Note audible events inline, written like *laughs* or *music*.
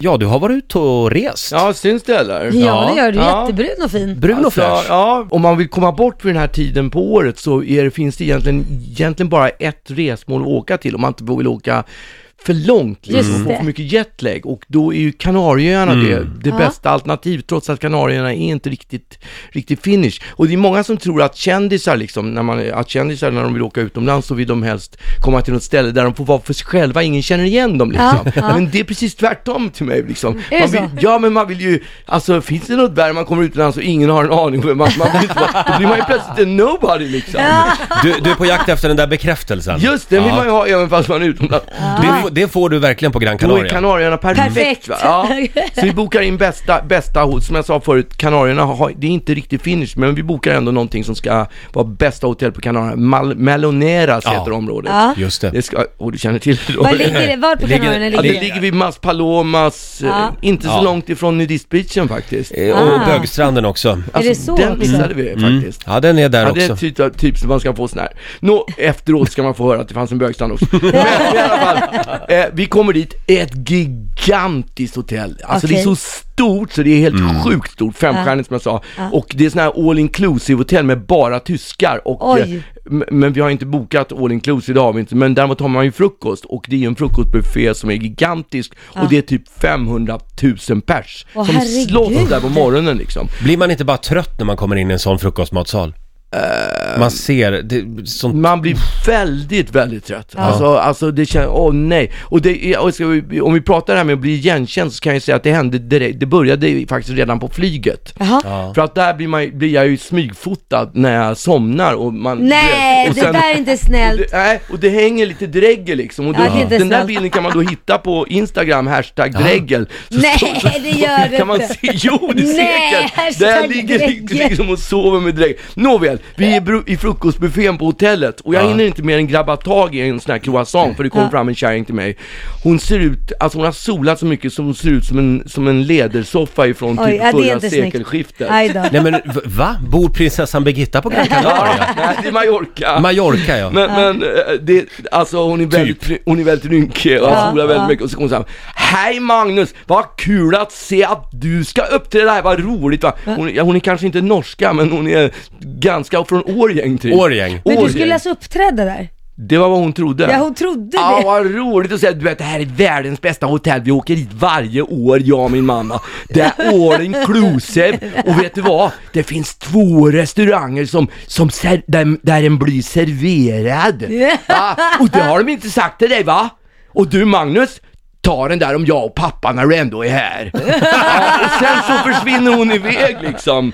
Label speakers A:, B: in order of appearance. A: Ja, du har varit ute och rest.
B: Ja, syns det eller?
A: Ja.
C: Ja, det gör du.
B: Ja.
C: Jättebrun och fin.
A: Brun och fräsch.
B: ja, om man vill komma bort vid den här tiden på året så är, det- finns det egentligen, egentligen bara ett resmål att åka till om man inte vill åka för långt liksom,
C: Just
B: och få
C: det.
B: för mycket jetlag och då är ju Kanarieöarna det, det
C: Ja.
B: bästa alternativet trots att Kanarieöarna är inte riktigt, riktigt finish. Och det är många som tror att kändisar liksom, när man, att kändisar när de vill åka utomlands så vill de helst komma till något ställe där de får vara för sig själva, ingen känner igen dem liksom.
C: Ja, ja.
B: Men det är precis tvärtom till mig liksom.
C: Är det
B: Man
C: så?
B: vill, Ja men man vill ju, alltså finns det något värre man kommer utomlands och ingen har en aning om vem man, man vill inte vara, då blir man ju plötsligt en nobody liksom.
D: Du, du är på jakt efter den där bekräftelsen.
B: Just det, vill
D: Ja.
B: man ju ha även fast man är utomlands.
D: Det, får- det får du verkligen på Gran
B: Då är
D: Canaria.
B: Kanarierna perfekt,
C: Perfekt.
B: va? Ja.
C: *laughs*
B: Så vi bokar in bästa, bästa hotell, som jag sa förut, Kanarierna har, det är inte riktigt finish, men vi bokar ändå någonting som ska vara bästa hotell på Kanarierna. Mal- Meloneras
D: Ja.
B: heter området.
C: Ja.
D: Just det.
B: Det ska, och du känner till det då?
C: Var ligger det? Var på
D: Ligger-
C: Kanarierna
B: Ja,
C: ligger
B: det
C: det?
B: ligger vid Mas Palomas, eh,
C: Ja.
B: inte så
D: Ja.
B: långt ifrån nudistbeachen faktiskt. Alltså,
D: Eh, Mm. Och
C: Ah.
D: bögstranden också.
C: Är det så
B: den
C: också?
B: missade vi Mm. faktiskt.
D: Ja, den är där
B: Ja, det är
D: också.
B: ett typ, av- typ som man ska få sån här. Nå, efteråt ska man få höra att det fanns en bögstrand
C: *laughs*
B: också. Men i alla fall, eh, vi kommer dit, ett gigantiskt hotell. Alltså det är
C: Okej.
B: så stort så det är helt
D: Mm.
B: sjukt stort, femstjärnigt som jag sa. Och det är sån här all inclusive hotell med bara tyskar och
C: Oj.
B: eh, m- men vi har inte bokat all inclusive, det har vi inte. Men däremot har man ju frukost och det är ju en frukostbuffé som är gigantisk och det är typ 500 000 pers
C: Åh,
B: som
C: herregud.
B: slåss där på morgonen liksom.
D: Blir man inte bara trött när man kommer in i en sån frukostmatsal?
B: Eh.
D: Man ser, det, sånt,
B: Man blir väldigt, väldigt trött. Alltså, alltså det känns, åh nej. Och, det, är- och ska vi, om vi pratar det här med att bli igenkänd så kan jag säga att det hände direkt, det började ju faktiskt redan på flyget.
C: Jaha.
B: För att där blir, man, ju- blir jag ju smygfotad när jag somnar och man...
C: Nej,
B: och
C: det där är inte snällt.
B: och det, nej, och det hänger lite dregel liksom. Och då,
C: Ja, det är inte
B: den där
C: snällt.
B: bilden kan man då hitta på Instagram, hashtag dregel. Så,
C: Nej,
B: så, så,
C: det gör det
B: kan man
C: inte.
B: se, *laughs* Jo, det är
C: Nej,
B: säkert!
C: hashtag
B: Där ligger *laughs*
C: dregel.
B: liksom och sover med dregel. Nåväl, vi är i bru- i frukostbuffén på hotellet och jag
D: Ja.
B: hinner inte mer än grabba tag i en sån här croissant för det kom
C: Ja.
B: fram en kärring till mig. Hon ser ut, alltså hon har solat så mycket så hon ser ut som en, som en lädersoffa ifrån
C: Oj,
B: typ
C: ja, det är
B: förra
C: inte snyggt.
B: sekelskiftet.
C: Aj då.
D: nej men v- va? Bor prinsessan Birgitta på Gran Canaria?
B: *laughs* Nej, det är Mallorca.
D: Mallorca ja. Typ.
B: Men, men eh, det, alltså hon är väldigt, hon är väldigt rynkig och
C: Ja,
B: solar väldigt
C: ja.
B: mycket och så kommer hon såhär Hej Magnus! Vad kul att se att du ska uppträda här, vad roligt va? Hon, ja, hon är kanske inte norska men hon är ganska från Årjäng typ.
D: Årjäng.
C: Men du
B: Årjäng.
C: skulle alltså uppträda där?
B: Det var vad hon trodde.
C: Ja, hon trodde
B: Ja,
C: det.
B: vad roligt att säga. Du vet, det här är världens bästa hotell. Vi åker dit varje år, jag och min mamma. Det är all inclusive. Och vet du vad? Det finns två restauranger som, som ser, där, där den blir serverad. Ja, och det har de inte sagt till dig, va? Och du, Magnus? Ta den
C: *laughs*
B: där om jag och pappa när du ändå är här. Ja, och sen så försvinner hon iväg liksom.